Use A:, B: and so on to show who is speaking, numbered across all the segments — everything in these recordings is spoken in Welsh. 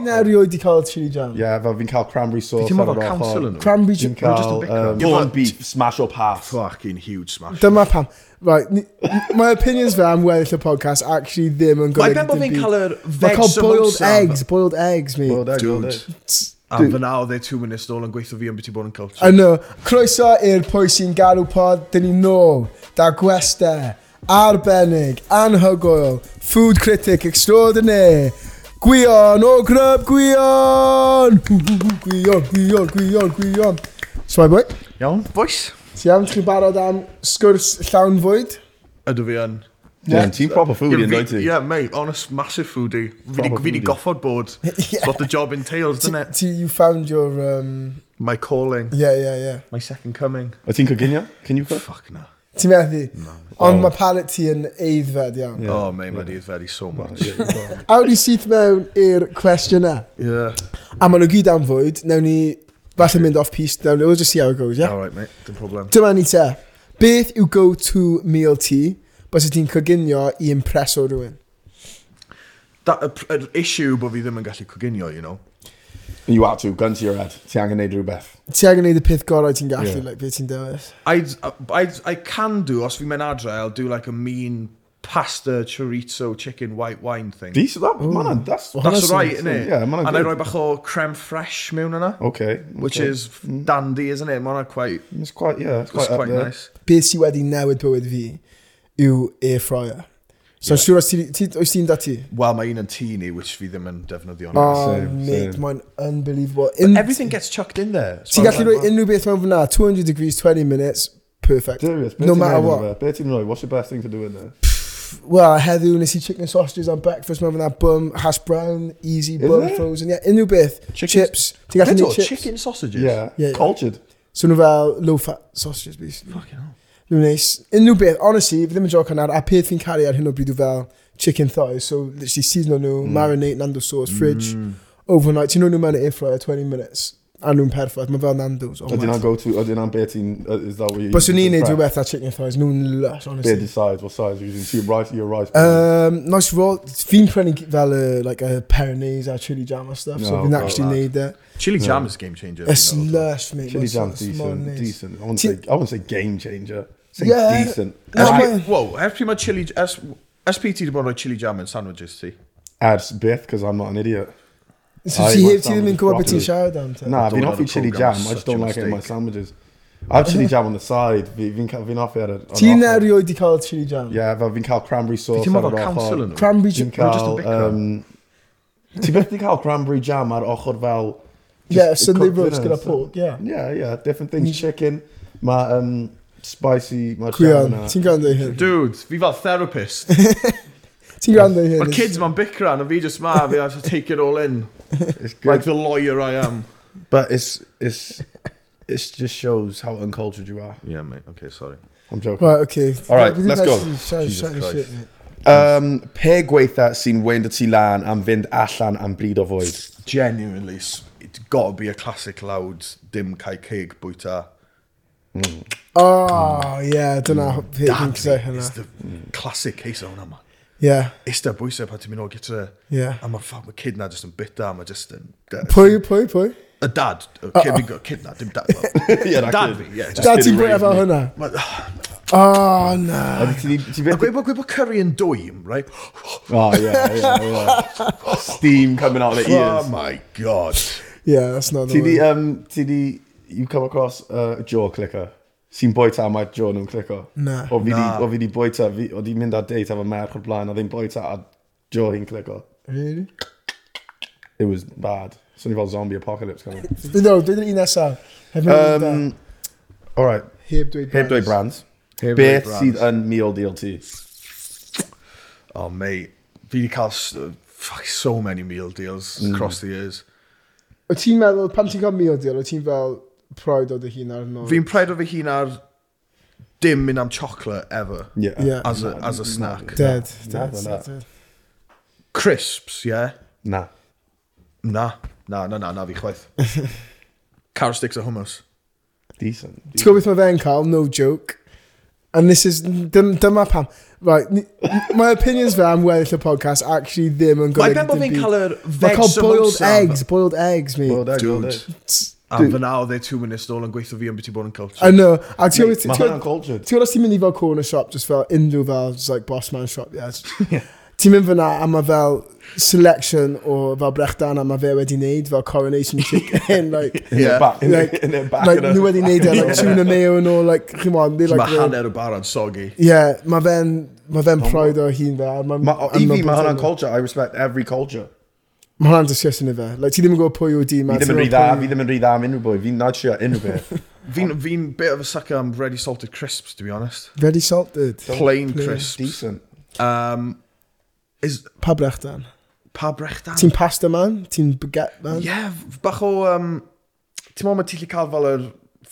A: Na, rioed di cael chili jam.
B: Ie, fel fi'n cael cranberry sauce.
C: Ti'n meddwl
B: ar yr ochr.
C: council yn nhw?
A: Cranberry
B: Fi'n
A: jam.
C: just a
B: cael
C: bit crab.
B: um,
C: Yeah,
B: corned
C: but-
B: beef, smash up half.
C: Fucking huge smash.
A: Dyma pam. Right, ni- my opinions fe am weddill y podcast actually ddim yn golygu
C: ben
A: dim
C: bod fi'n
A: byd.
C: cael yr
A: Mae
C: veg
A: cael boiled
C: samosa.
A: eggs, boiled eggs, mi.
B: Well, there you go,
C: Dude.
B: there.
C: A fyna o dde two minutes nôl yn gweithio fi am beth i bod yn cael.
A: I know. Croeso i'r pwy sy'n garw pod, dyn ni nôl, da gweste, arbennig, anhygoel, food critic extraordinaire, Gwion o Gryb Gwion! Gwion, Gwion, Gwion, Gwion. Swai boi,
C: Iawn, boys.
A: ti am chi barod am sgwrs llawn fwyd?
C: Ydw fi yn.
B: Ie, ti'n proper foodie, yn
C: Ie,
B: dweud
C: fi-
B: ti?
C: Ie, mate, honest, massive foodie. Fi di-
B: Proper
C: fi di
B: foodie.
C: goffod bod. It's what the job entails,
A: Ti,
C: isn't it?
A: ti- you found your, um,
C: My calling.
A: yeah, yeah, yeah.
C: My second coming.
B: O ti'n coginio? Can you cook?
C: Fuck na.
A: Ti'n methu? Ond
B: Oh.
A: mae palate ti yn eiddfed iawn.
C: Oh, mate, mae di very so much.
A: Awn ni syth mewn i'r cwestiynau.
C: Yeah.
A: A maen nhw gyd am fwyd, newn ni falle mynd off piste, newn ni, we'll just see how it goes, yeah?
C: Alright, mate, dim problem.
A: Dyma ni te. Beth yw go-to meal ti, bys ydy'n coginio i impreso rhywun?
C: That- y pr- yr issue bod fi ddim yn gallu coginio, you know.
B: You have to, gun to your head. Ti angen neud rhywbeth.
A: Ti angen gwneud y peth gorau ti'n gallu,
B: Ie.
A: yeah. like, beth ti'n dewis?
C: I'd, uh, I'd, I can do, os fi'n mynd adre, I'll do like a mean pasta, chorizo, chicken, white wine thing.
B: Di, so that, man, on, that's...
C: That's
A: Honestly,
C: right, innit?
B: yeah, ma' hwnna'n
C: And I
B: good.
C: roi bach o creme fraiche mewn yna,
B: Okay.
C: which
B: okay.
C: is dandy, isn't it? Mae hwnna quite,
B: It's quite, yeah, it's
C: it's
B: quite,
C: quite
B: up there.
C: nice.
A: Beth sy wedi newid bywyd fi yw air fryer. So, yeah. siwr os ti- ti, oes ti'n dati?
C: Wel, mae un yn tŷ ni, which fi ddim yn
B: Ah.
C: defnyddio.
A: O,
C: Oh.
B: same,
A: mate,
B: same.
A: mae'n unbelievable. In,
C: Everything gets chucked in there.
A: ti'n gallu rhoi unrhyw beth mewn fyna, 200 degrees, 20 minutes, perfect.
B: Serious,
A: no matter what.
B: Beth ti'n rhoi? What's your best thing to do in there?
A: Wel, heddiw nes i chicken sausages am breakfast mewn fyna, bum, hash brown, easy,
B: Is
A: bum,
B: it?
A: frozen, yeah, unrhyw beth.
C: Chicken-
A: Chips. Ti'n gallu
C: Eto,
A: gwneud chips?
C: chicken sausages.
B: Yeah,
A: Yeah, yeah.
B: cultured.
A: So nhw fel low-fat sausages, basically.
C: Fucking hell.
A: Nhw'n neis. Unrhyw beth, honestly, fi ddim yn joc yna, a peth fi'n caru ar hyn o bryd yw fel chicken thighs, so literally season nhw,
B: Mm.
A: marinate, nando sauce, fridge, overnight. Ti'n nhw mewn i air fryer 20 minutes, a nhw'n perffaith, mae fel nandos.
B: Ydy na'n go to, ydy na'n beth ti'n, uh, is that what you...
A: Bos o'n Oh, i'n neud
B: prep?
A: rhywbeth ar chicken thighs, nhw'n lush,
B: Be
A: honestly.
B: di size, what size are you using? Ti'n rice, your rice.
A: Um, nice roll. Fi'n prynu fel y, like, a Peronese a chili jam a stuff, so
B: No,
A: fi'n
B: got
A: actually
C: that.
A: neud it.
C: Chili jam is a game changer.
A: It's
C: you know, though.
A: lush, mate.
B: Chili
A: It's-
B: jam,
A: it's modern
B: decent,
A: days.
B: decent. I wouldn't
A: Ti-
B: say, I wouldn't say game changer. Say
A: Yeah.
B: decent.
A: No,
B: Add-
A: mae-
C: Whoa, ers pryd mae chili... Ers, ers pryd ti wedi bod yn rhoi chili jam yn sandwiches ti?
B: Add Beth, because I'm not an idiot.
A: So
B: I
A: ti heb ti
B: want
A: ddim yn
B: sandwich
A: gwybod beth ti'n
B: broccoli.
A: siarad am te?
B: Nah, I've been
C: don't
B: off
C: have a
B: with chili jam.
C: programme,
B: I just
C: such a
B: don't like it in my
C: mistake.
B: sandwiches. I have chili jam on the side. Fi- Fi'n ca- fi'n off it. ar- ar
A: Ti'n
B: ochr.
A: erioed i cael chili jam?
B: Yeah, fel fi'n cael cranberry sauce.
C: Ti'n
B: ar
C: meddwl
B: yr ochr.
C: council yn nhw?
A: Cranberry
B: Ti'n
A: jam.
C: We're just a
B: cael...
C: bit
B: yym, Ti beth di cael cranberry jam ar ochr fel...
A: Yeah,
B: just
A: Sunday
B: cooked
A: roast
B: in
A: gyda
B: it.
A: pork, yeah. Mm.
B: Yeah, yeah, different things. Chicken, mae um, spicy, mae
A: Cwian,
B: jam
A: ti'n gwrando i hyn?
C: Dude, fi fel therapist.
A: Ti'n gwrando i hyn?
C: Mae'r kids ma'n bicran, a fi just ma, fi have to take it all in.
B: It's good.
C: Like the lawyer I am.
B: But it's, it's, it just shows how uncultured you are.
C: Yeah, mate, okay, sorry.
B: I'm joking.
A: Right, okay.
B: All right,
A: We didn't
B: let's go.
A: actually shout-
C: Jesus
A: shout this
C: Christ.
A: shit, mate.
B: Um, pe gweitha sy'n wend y tu lan am fynd allan am bryd o fwyd.
C: Genuinely, s- it's got to be a classic loud dim cae cig bwyta.
A: Oh, yeah,
B: Mm.
A: dyna ho- peth fi'n
C: That
A: cysau
C: is
A: hynna.
C: the classic case o hwnna, man.
A: Yeah,
C: Ista bwysau pan ti'n mynd o gytre.
A: yeah.
C: A mae ffam y kid na just yn bita, mae just yn...
A: Pwy, pwy, pwy?
C: Y dad, y kid fi'n gwybod, kid na, dim dad.
B: Ie,
C: Ie,
B: na,
C: dad
B: kid.
C: fi, ie. just-
A: Da ti'n
B: kidding,
A: bwyd
B: raise
A: efo
B: me.
A: hwnna?
C: Ma-
A: Oh, na.
B: Ydy ti- ti
C: A
B: byth-
C: gwe bod gwe bod curry yn dwym, right?
B: Oh, yeah, yeah, yeah. Steam coming out of the
C: Oh
B: ears.
C: my god.
A: Yeah, that's not the
B: Ti di,
A: one.
B: um, ti di, you come across a uh, jaw clicker. Sy'n boita mae jaw nhw'n clicker.
A: Na.
B: O fi di,
C: Na.
B: o fi di boita, fi, o di mynd ar date efo merch o'r blaen, a ddim boita a jaw hi'n clicker.
A: Really?
B: It was bad. So ni fel zombie apocalypse coming.
A: No, dweud yr un nesaf. Heb mynd da.
B: um, all right,
A: Heb dweud
B: heb dweud brands.
C: Heb
B: Beth
C: dweud
B: sydd
C: brands.
B: yn meal deal ti?
C: Oh mate, fi wedi cael s- uh, fuck, so many meal deals
A: Mm.
C: across the years.
A: O ti'n meddwl, pan ti'n cael meal deal, o ti'n fel proed o dy hun ar nôl?
C: Fi'n pred o fy hun ar dim mynd am chocolate ever.
B: Yeah.
A: Yeah. Mm.
C: As a, as a snack.
A: Dead.
B: Na,
A: Dead.
B: na, na.
A: dead, dead.
C: Crisps, yeah?
B: Na.
C: Na, na, na, na, na fi chwaith. Carrot sticks a hummus.
B: Decent.
A: Ti'n gwybod beth mae fe'n cael? No joke. And this is, dym- dyma pam. Right, ni- my opinions fe am weddill y podcast actually ddim yn
C: Mae
A: golygu
C: ben bod fi'n
A: dim
C: cael
A: byd.
C: yr
A: Mae
C: veg
A: cael boiled
C: samosa.
A: eggs, boiled eggs, mi.
B: Wel, da,
C: Dude.
B: gweld e.
C: A fy nawr they two minutes nôl yn gweithio fi am beth i bod yn culture.
A: I know. A ti'n gwybod,
B: Mate,
A: ti'n
B: Mae hwnna'n
A: gwybod,
B: cultured.
A: ti'n gwybod os ti'n mynd i fel corner shop, just fel unrhyw fel, just like boss man shop, yeah. just- Ti'n mynd fyna a mae fel selection o fel brechdan a mae fe wedi neud, fel coronation chicken, like,
B: In their
C: Yeah.
B: back- in their-
A: Like-
B: in their back
A: like,
B: of the-
A: nhw wedi neud e, like, tuna mayo and all, like, chi'n mwyn, they like,
C: Mae
A: the-
C: hanner y bar yn sogi.
A: yeah, mae fe'n, mae fe'n proud o hun fe. a ma'n-
B: Oh, Ma- o,
A: I'm not
B: I fi, mae hwnna'n
A: pretending.
B: culture. I respect every culture.
A: Mae hwnna'n disgusting i fe. Like, ti ddim yn gwybod pwy o dîm.
B: Fi ddim yn rhy dda, fi ddim yn rhy dda am unrhyw bwy. Fi'n nadsio unrhyw beth.
C: Fi'n fi'n bit of a sucker am ready salted crisps, to be honest.
A: Ready salted.
C: Plain crisps.
B: Decent.
C: Um, is
A: Pa brechdan?
C: pa brechdan?
A: Ti'n pasta man? Ti'n baguette man?
C: Ie, f- bach o... Um, Ti'n meddwl mae ti'n gallu cael fel yr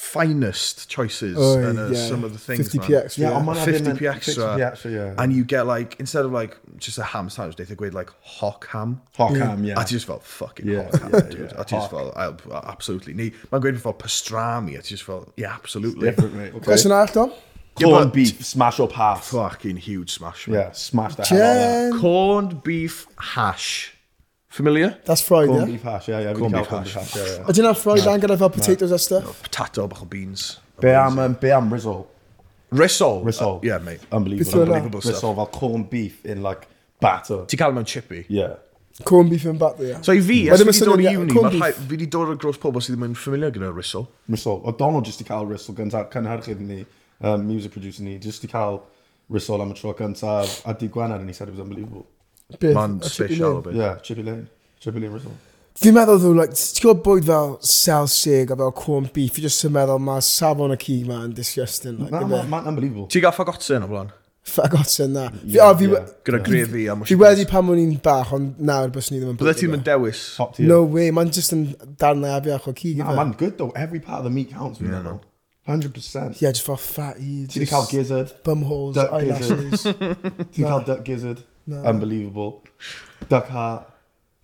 C: finest choices
A: Oi,
C: and uh,
A: yeah.
C: some of the things,
A: 50p
C: man.
A: extra, Yeah, yeah.
B: ond ma' hwnna ddim yn-
C: 50p extra.
B: 50p extra, yeah.
C: And you get like, instead of like, just a ham sandwich, they gweud like hock ham.
B: Hot cam, yeah.
C: I just felt fucking
B: Yeah,
C: yeah, hot ham,
B: yeah,
C: dude.
B: yeah.
C: I just felt, I, uh, absolutely. Ni, mae'n gweud fel pastrami, I just felt, yeah, absolutely.
B: Different, mate. Okay.
A: Gwestiwn arall, Dom?
B: Corned beef, smash or pass.
C: Fucking huge smash, man.
B: Yeah, smash the hell out of that.
A: Jen.
C: Corned beef hash. Familiar?
A: That's fried,
B: Corned
A: yeah?
B: beef hash, yeah, yeah. Corned
C: Corned
B: beef
C: beef hash.
B: hash, yeah, yeah.
A: Ydy'n have fried dan gyda fel potatoes a stuff?
C: Potato, bach o beans.
B: Be am, Oh. um, be am Rizzo?
C: Rissol.
B: Rizzo.
C: Uh, yeah, mate.
A: Beth yw
B: Unbelievable.
A: hwnna?
B: Unbelievable stuff. Rizzo fel corned beef in like batter.
C: Ti'n cael mewn chippy.
B: Yeah.
A: Corn beef and batter, yeah?
C: So i fi,
A: Wedyn
C: as fi
A: ma'
C: wedi dod i
A: syniad-
C: uni,
A: corned
C: ma'
A: beef.
C: rhai- fi wedi dod o'r gros pobl sydd ddim yn ffamiliar gyda rissol.
B: Rissol. O Donald jyst i cael Rissol gyntaf, cynhyrchydd ni, um, music producer ni, jyst i cael Rissol am y tro gyntaf, a di Gwener, and he said it was unbelievable.
A: Beth?
C: Ma'n
A: A chicken
C: special o
A: in.
C: beth.
B: Yeah, Chippy Lane. Chippy Lane Rissol.
A: Fi'n meddwl ddw, like, ti'n gwybod bwyd fel salsig a fel corn beef, fi jyst yn meddwl mae safon y ci ma'n disgusting, like,
B: Ma'n ma,
A: gyda
B: ma, unbelievable.
C: Ti'n gael fagotsen o flan?
A: ffagots yna. Fi, o, fi,
B: yeah.
C: Gyda grefi a
A: fi wedi pan o'n i'n bach, ond nawr bys ni ddim yn
C: Bydde
A: bwyd.
C: ti'n mynd
A: fe.
C: dewis.
B: Top tier.
A: No way, ma'n just yn darnau afiach o ci
B: Nah,
A: gyda.
B: man, good though. Every part of the meat counts, you know. 100%.
A: Yeah, just for fat eats.
B: Did you call gizzard?
A: Bum holes,
B: Duck
A: eyelashes.
B: Did you call duck gizzard? Unbelievable. Duck heart.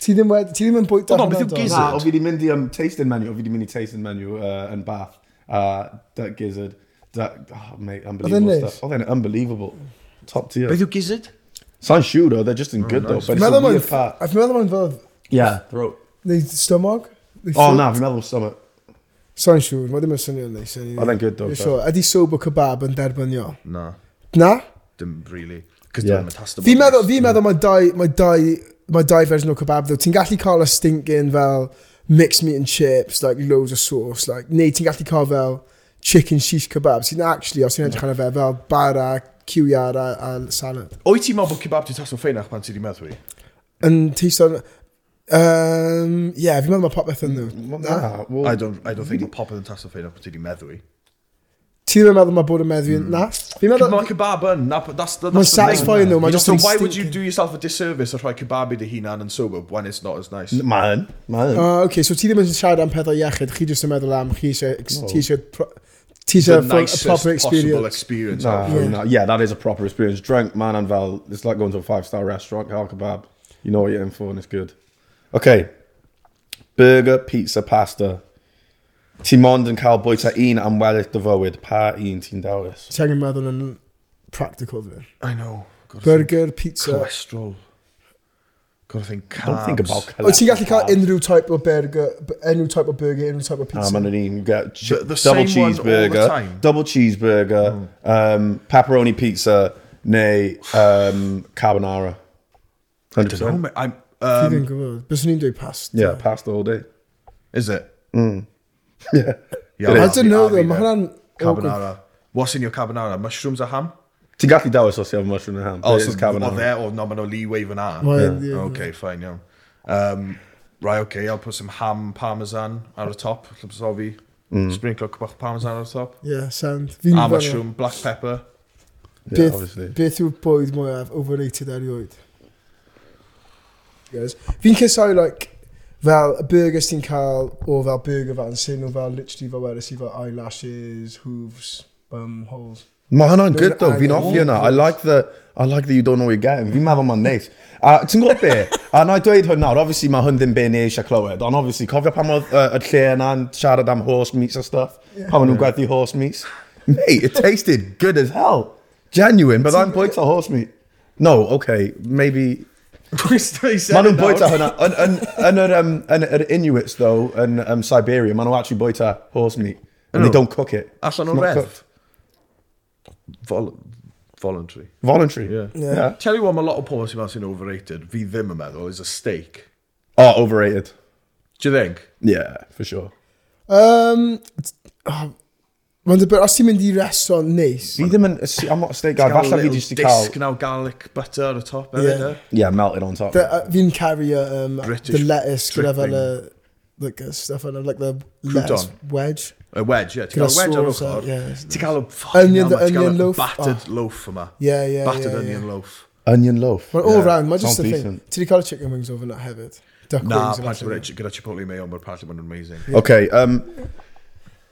A: ti ddim wedi, ti ddim yn bwyta
C: Hold on, beth yw
A: do?
C: gizzard?
B: Nah, o fi di mynd i um, tasting menu, o fi di mynd i tasting menu uh, yn bath. Uh, duck gizzard. Duck, oh, mate, unbelievable
A: Oedd e'n
B: stuff. Oedd e'n unbelievable. Top tier.
C: Beth yw gizzard?
B: Sign shooter, they're just in good though. But
A: Fi'n
B: it's a
A: meddwl ma'n,
B: weird part.
A: a fi'n meddwl ma'n fel,
B: Yeah, throat.
A: neu stomog? Neu
B: Oh
A: throat?
B: na, fi'n meddwl stomach.
A: Sa'n siŵr, mae ddim yn swnio'n neis. anyway.
B: Oedd e'n good, though,
A: You're
B: though.
A: Sure. Ydi soba kebab yn derbynio?
C: Na,
A: Na?
C: dim really. Cos
B: Yeah.
C: dwi'n tastable.
A: Fi'n meddwl, fi'n meddwl mae dau, mae dau, mae dau version o kebab ddo. Ti'n gallu cael y stinking fel mixed meat and chips, like loads of sauce, like, neu ti'n gallu cael fel chicken shish kebab. Sy'n actually, os ti'n edrych arno fe, fel bara, ciwiar a, a salad.
C: O'i ti'n meddwl bod kebab ti'n tastable ffeinach pan ti di meddwl i?
A: Yn teisto'n... Um, yeah, fi'n meddwl mae popeth yn
B: Mm,
A: ddo.
B: Nah,
C: I
B: well,
C: don't, I don't think mae popeth yn tastable ffeinach pan ti di meddwl i.
A: Ti ddim yn meddwl mae bod yn meddwl
B: Mm.
A: yn na? Fi'n meddwl...
C: Mae kebab yn, na- that's, that's the thing.
A: Mae'n satisfying though, mae'n
C: You
A: just
C: know,
A: yn
C: So why would you
A: stinking.
C: do yourself a disservice o rhoi kebab i dy hunan yn sober when it's not as nice?
B: man, man.
A: Ah, okay, so ti ddim yn siarad am pethau iechyd, chi jyst yn meddwl am, chi eisiau, ti eisiau, pro- ti
C: the
A: eisiau fo- a
C: nicest
A: proper
C: possible
A: experience.
C: experience.
B: Nah,
A: Yeah.
B: nah, yeah, that is a proper experience. Drunk, man, and Val. It's like going to a five star restaurant, halal kebab. You know what you're in for, and it's good. Okay, burger, pizza, pasta. Ti'n mond yn cael bwyta un am weddill dy fywyd, pa un ti'n dewis?
A: Ti angen meddwl yn practical fe.
C: I know. Gotta think
A: Burger, pizza.
C: Cholesterol. Gotta think carbs.
B: Don't think about
A: O, ti'n gallu cael unrhyw type o burger, b- unrhyw type o burger, unrhyw type o
B: Ah,
A: pizza.
B: man, you get chi-
C: The-
B: double
C: the same one all the
B: cheeseburger,
C: time.
B: double cheeseburger, um, pepperoni pizza, nay um, carbonara. Hundred
C: I don't
B: percent.
C: know, mate. I'm,
A: Fi
C: um,
A: ddim yn gwybod. Bys ni'n dweud past.
B: Yeah, pasta all day.
C: is it?
B: Hmm. Yeah.
C: Yeah,
B: It
A: I
B: is.
C: I'll be-
A: don't know
C: I'll be
A: though, mae
C: there.
A: hwnna'n... awkward.
C: Carbonara. What's in your carbonara? Mushrooms or ham?
B: Ti'n gallu dawis os ti efo mushroom and ham.
C: Oh,
B: but it
C: so
B: is
C: or
B: carbonara.
C: there or no, no leeway fan ar.
A: Wel, ie.
C: Okay, fine, iawn. Um, right, okay, I'll put some ham parmesan ar y top, llybsofi.
B: Hmm.
C: Sprinkle cwbach o parmesan ar y top.
A: Yeah, sound. Fi'n gwybod.
C: A Ah, mushroom, black pepper.
B: Yeah, obviously.
A: Beth yw'r bwyd mwyaf overrated erioed? Guys. Fi'n cysau, like, fel y burgers ti'n cael o fel burger fan sy'n nhw fel literally fel wedys i fel eyelashes, hooves, bum holes.
B: Mae hwnna'n good though,
A: Those
B: fi'n
A: are
B: offi yna. I like the, I like that you don't know what you're getting. Fi'n meddwl mae'n neis. A ti'n gwybod be? A na i dweud hwn nawr, obviously mae hwn ddim be ni eisiau clywed, ond obviously, cofio pan oedd uh, y lle yna'n siarad am horse meats a stuff? Pan maen nhw'n gweddi horse meats? Mate, it tasted good as hell. Genuine, but I'm boy to horse meat. No, okay, maybe. Man yn bwyta hynna. Yn, yn, yn, yr, um, yn yr Inuits, though, yn um, Siberia, man nhw actually bwyta horse meat. And they
C: Ydyn nhw?
B: don't cook it.
C: Allan
B: It's
C: o'n
B: not
C: redd.
B: cooked.
C: Vol voluntary.
B: Voluntary.
C: Yeah.
B: yeah.
C: Tell you what, mae lot o pobl sy'n meddwl sy'n overrated, fi ddim yn meddwl, is a steak.
B: Oh, overrated.
C: Do you think?
B: Yeah, for sure.
A: Um, Mae'n dweud, os ti'n mynd i restaurant neis,
B: Fi ddim yn... I'm not a steak guy.
C: Gael
B: Falle fi
C: little
B: jyst i
C: disc
B: cael...
C: now, garlic butter ar y top.
A: Yeah.
C: Yeah.
B: Yeah, melted on top.
A: the- uh, fi'n carry y, um,
C: British
A: the lettuce gyda
C: dripping.
A: fel y like, uh, stuff on like the lettuce wedge.
C: A wedge, yeah. Ti'n
A: Gyda
C: cael wedge ar
A: sauce ar-
C: ochr.
A: yeah, it's
C: Ti'n cael y fucking
A: Onion-
C: hell, man, ti'n
A: onion
C: cael y
A: loaf.
C: battered loaf yma.
A: Yeah, yeah,
C: Battered
A: yeah,
C: onion
A: yeah.
C: loaf.
B: Onion loaf.
A: Mae'n all
C: Yeah,
A: round, mae'n just a
B: sounds
A: thing.
B: decent.
A: Ti di cael y chicken wings over na hefyd? Duck
C: Na,
A: wings. a
C: apparently
A: falle.
C: bod e- gyda Chipotle mayo, mae'r apparently maen nhw'n amazing.
B: Okay, um,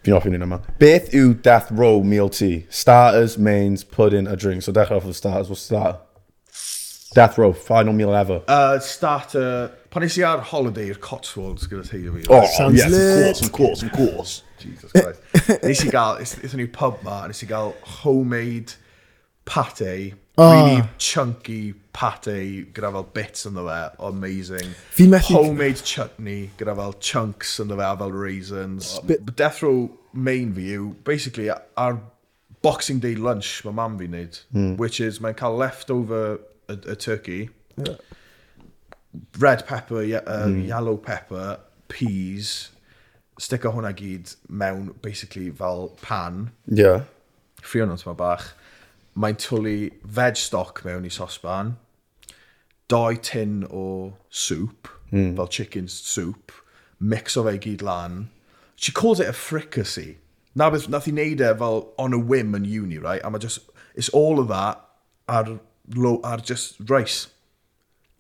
B: fi'n hoffi'n un yma. Beth yw death row meal tea? Starters, mains, pudding a drink. So dechrau off with starters, what's starter? Death row, final meal ever.
C: Uh, starter, pan nes i ar holiday i'r Cotswolds gyda teulu fi.
A: sounds lit.
B: Oh, of course, of course, of course.
C: Jesus Christ. nes i gael, ethon ni pub ma, nes i gael homemade pate, really chunky pate gyda fel bits ynddo fe, amazing.
A: Fi methu-
C: Homemade chutney gyda fel chunks ynddo fe, a fel raisins. But Death Row main fi yw, basically, ar Boxing Day lunch mae mam fi'n neud,
A: Hmm.
C: which is mae'n cael leftover y, y turkey, red pepper, ye- uh,
A: Hmm.
C: yellow pepper, peas, stick o hwnna gyd mewn basically fel pan,
B: Yeah.
C: ffrio nhw tyma bach, mae'n twlu veg stock mewn i sosban, doi tin o soup,
A: Hmm.
C: fel chicken soup, mix o fe i gyd lan. She calls it a fricassee. Na beth, nath i neud e fel on a whim yn uni, right? A mae just, it's all of that ar, low, ar just rice.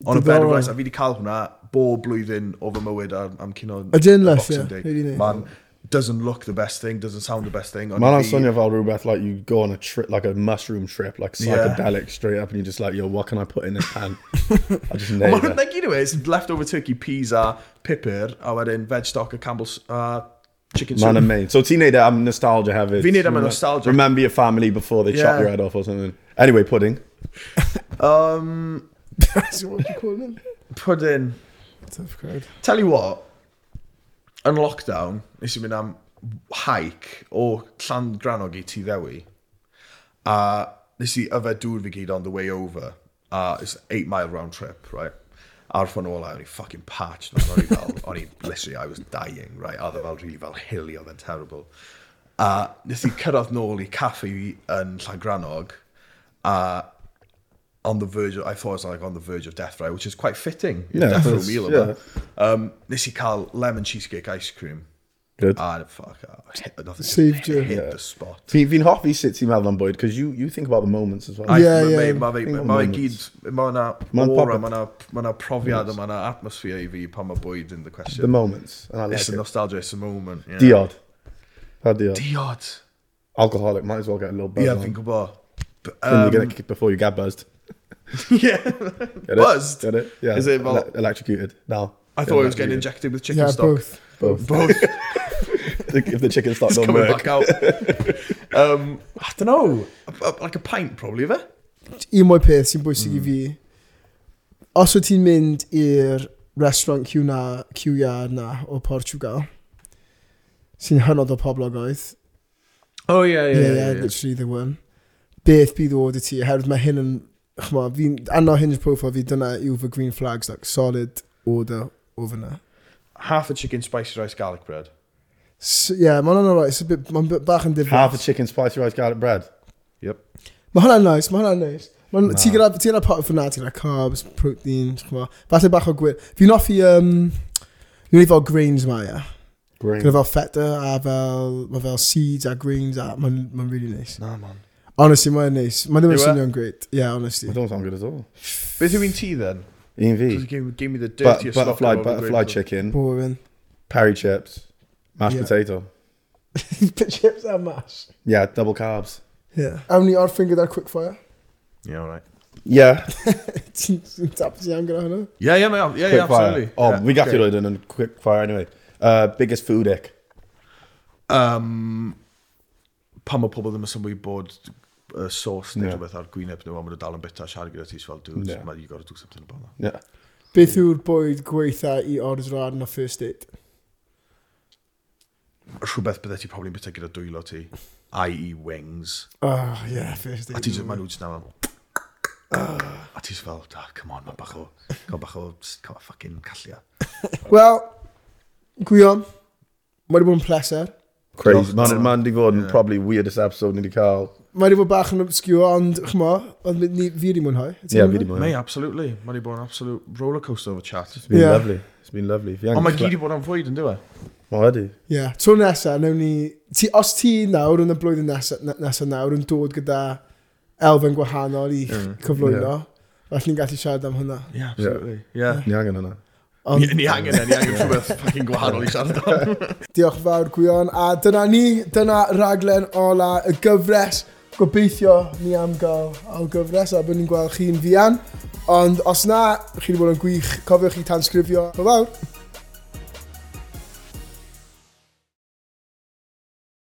C: On a bed of
A: Diddorol.
C: rice. A fi wedi cael hwnna bob blwyddyn o fy mywyd am, am cino
A: Ydyn, Les, ie,
C: Day.
A: rili neis.
C: Man, doesn't look the best thing, doesn't sound the best thing. ond
B: Man, I'm
C: fi-
B: Sonia Val Rubeth, like you go on a trip, like a mushroom trip, like
C: Yeah.
B: psychedelic straight up, and you're just like, yo, what can I put in this pan? I just
C: Ond
B: nailed
C: Mae
B: it.
C: hwnna gyd yw e, it's leftover turkey peas a pipur, a wedyn veg stock a Campbell's uh, chicken
B: Man and
C: soup.
B: mate. So teenager, I'm nostalgia heavy.
C: Fi'n neud am y nostalgia.
B: Remember your family before they chop
C: Yeah.
B: your head off or something. Anyway, pudding.
C: Um,
A: So what do you call them?
C: pudding.
A: Tough crowd.
C: Tell you what, yn lockdown, nes i mynd am hike o Llan Granog i Tŷ Ddewi. A nes i yfed dŵr fi gyd on the way over. A it's an eight mile round trip, right? Ar ffwn ola, o'n i fucking parched. man, O'n i fel, o'n i, literally, I was dying, right? A oedd e fel, really fel hilly, oedd e'n terrible. Uh, A nes i cyrraedd nôl i caffi yn Llan Granog. A uh, on the verge of, I thought I was like on the verge of death, right? Which is quite fitting.
B: Yeah,
C: Yeah, death row
B: that's-
C: meal.
B: yeah.
C: Yeah. Um, nes i cael lemon cheesecake ice cream.
B: Good.
C: And fuck, I hit, nothing just
A: Saved you.
C: hit, hit the spot.
B: Fi'n fi'n hoffi sut ti'n meddwl am bwyd, because you, you think about the moments as well.
C: I-
A: Yeah,
C: ma-
A: yeah.
C: ma- ma-
B: Think of
C: ma- Mae gyd,
B: moments.
C: mae yna
B: Ma'n
C: aura,
B: popeth.
C: mae yna- mae yna profiad, mae yna atmosphere i fi pan mae bwyd in the
B: the
C: question.
B: moments. And I like
C: It's a
B: it.
C: nostalgia, it's a moment. yeah.
B: Diod. Pa diod?
C: Diod.
B: Alcoholic, might as well get a little buzz
C: Yeah,
B: on.
C: fi'n gwybod. B-
B: Then you
C: um,
B: get it kicked before you get buzzed.
C: Yeah.
B: Get
C: Buzzed?
B: It? Get it? Yeah.
C: Is
B: Ele-
C: it about-
B: electrocuted? No.
C: I thought I was getting injected with chicken
A: Yeah,
C: stock.
A: both.
B: Both.
C: Both.
B: if the chicken stock
C: It's
B: don't
C: coming
B: work.
C: back out. Um, I don't know. Like a pint, probably, ife?
A: Un mwy peth sy'n bwysig i fi. Os wyt ti'n mynd i'r restaurant Q-na, Q-iar na o Portugal, sy'n hynod o poblogoedd,
C: Oh, yeah,
A: yeah, yeah, literally the one. Beth bydd o dy ti, oherwydd mae hyn yn, chmo, fi'n, anno hinge profile fi, dyna yw fy green flags, like, solid order o fyna.
C: Half a chicken spicy rice garlic bread.
A: So, yeah, mae'n anodd, right, it's a bit, mae'n bit bach yn
B: Half a
A: diflas.
B: chicken, spicy rice, garlic bread.
C: Yep.
A: Mae hwnna'n nice, mae hwnna'n nice. Mae'n, ti gyda, ti gyda pot fyna, ti gyda carbs, protein, chmo, falle bach o gwir. Fi'n offi, um, fi'n offi fel grains ma, ia.
B: Green.
A: Gyda fel feta a fel, mae fel seeds a grains a, mae'n, mae'n really nice.
B: Oh,
C: Na, man.
A: Honestly, mae'n nice. Mae'n ddim yn
C: Yw e?
A: swnio'n great. Yeah, honestly.
B: It don't sound good at all.
C: Beth yw un ti, then?
B: Ian V.
C: 'Cause you gave, gave me the
B: But,
C: dirtiest look
B: butterfly,
C: I've ever
B: butterfly
C: grabbed.
B: chicken,
A: Boring.
B: peri chips, mashed
A: Yeah.
B: potato.
A: Put chips and mash.
B: Yeah, double carbs.
A: Yeah. Awn ni o'r finger dar quickfire.
C: Yeah, all right.
B: Yeah,
A: Ti'n ti'n tapus iawn gyda hwnna.
C: Yeah, yeah, yeah, yeah,
B: quick
C: yeah
B: fire.
C: absolutely.
B: Oh,
C: yeah,
B: we got you in a quick fire anyway. Uh, biggest food ick.
C: Um, pan mae pobl ddim yn symud bod uh, sauce neu
B: Ie.
C: yeah. rhywbeth ar gwyneb nhw, a maen nhw dal yn bita siarad gyda ti, so fel, dude,
B: Ie.
C: yeah. you gotta do something about that.
B: Yeah.
A: Beth yw'r bwyd gweitha i ordro ar na first date?
C: Rhywbeth byddai ti probably yn bita gyda dwylo ti, i.e. wings,
A: Oh, yeah, first
C: a ti
A: date.
C: just, maen nhw just nawr, "Ah." a ti just fel, da, come on, ma'n bach o, come on, bach o, come on, fucking callia.
A: Wel, gwion, mae wedi bod yn pleser.
B: Crazy. Man, man di fod yn probably weirdest episode ni di cael.
A: Mae wedi bod bach yn obscure, ond chmo, oedd mi- ni- fi wedi mwynhau. Ti'n
B: Yeah,
A: mwynhau?
B: fi di mwyn.
C: Mei, absolutely. Mae'n i bod yn absolute rollercoaster of a chat.
B: It's been
A: Yeah.
B: lovely. It's been lovely. Fi
C: Ond mae
B: angen...
C: gyd i bod am fwyd yn e? dweud.
B: Mae wedi.
A: Ie, yeah. tro nesa, newn ni... Ti, os ti nawr yn y blwyddyn nesa, nesa nawr yn dod gyda elfen gwahanol i mm, cyflwyno, yeah. falle ni'n gallu siarad am hwnna.
C: Yeah, absolutely. Yeah.
B: Ni angen hwnna.
A: Ond
C: Ni angen e, ni angen rhywbeth fucking gwahanol i siarad am.
A: diolch fawr gwion, a dyna ni, dyna raglen ola y gyfres. Gobeithio ni am gael al gyfres a bod ni'n gweld chi'n fian. Ond os na, chi wedi bod yn gwych, cofiwch chi tansgrifio. Fawr!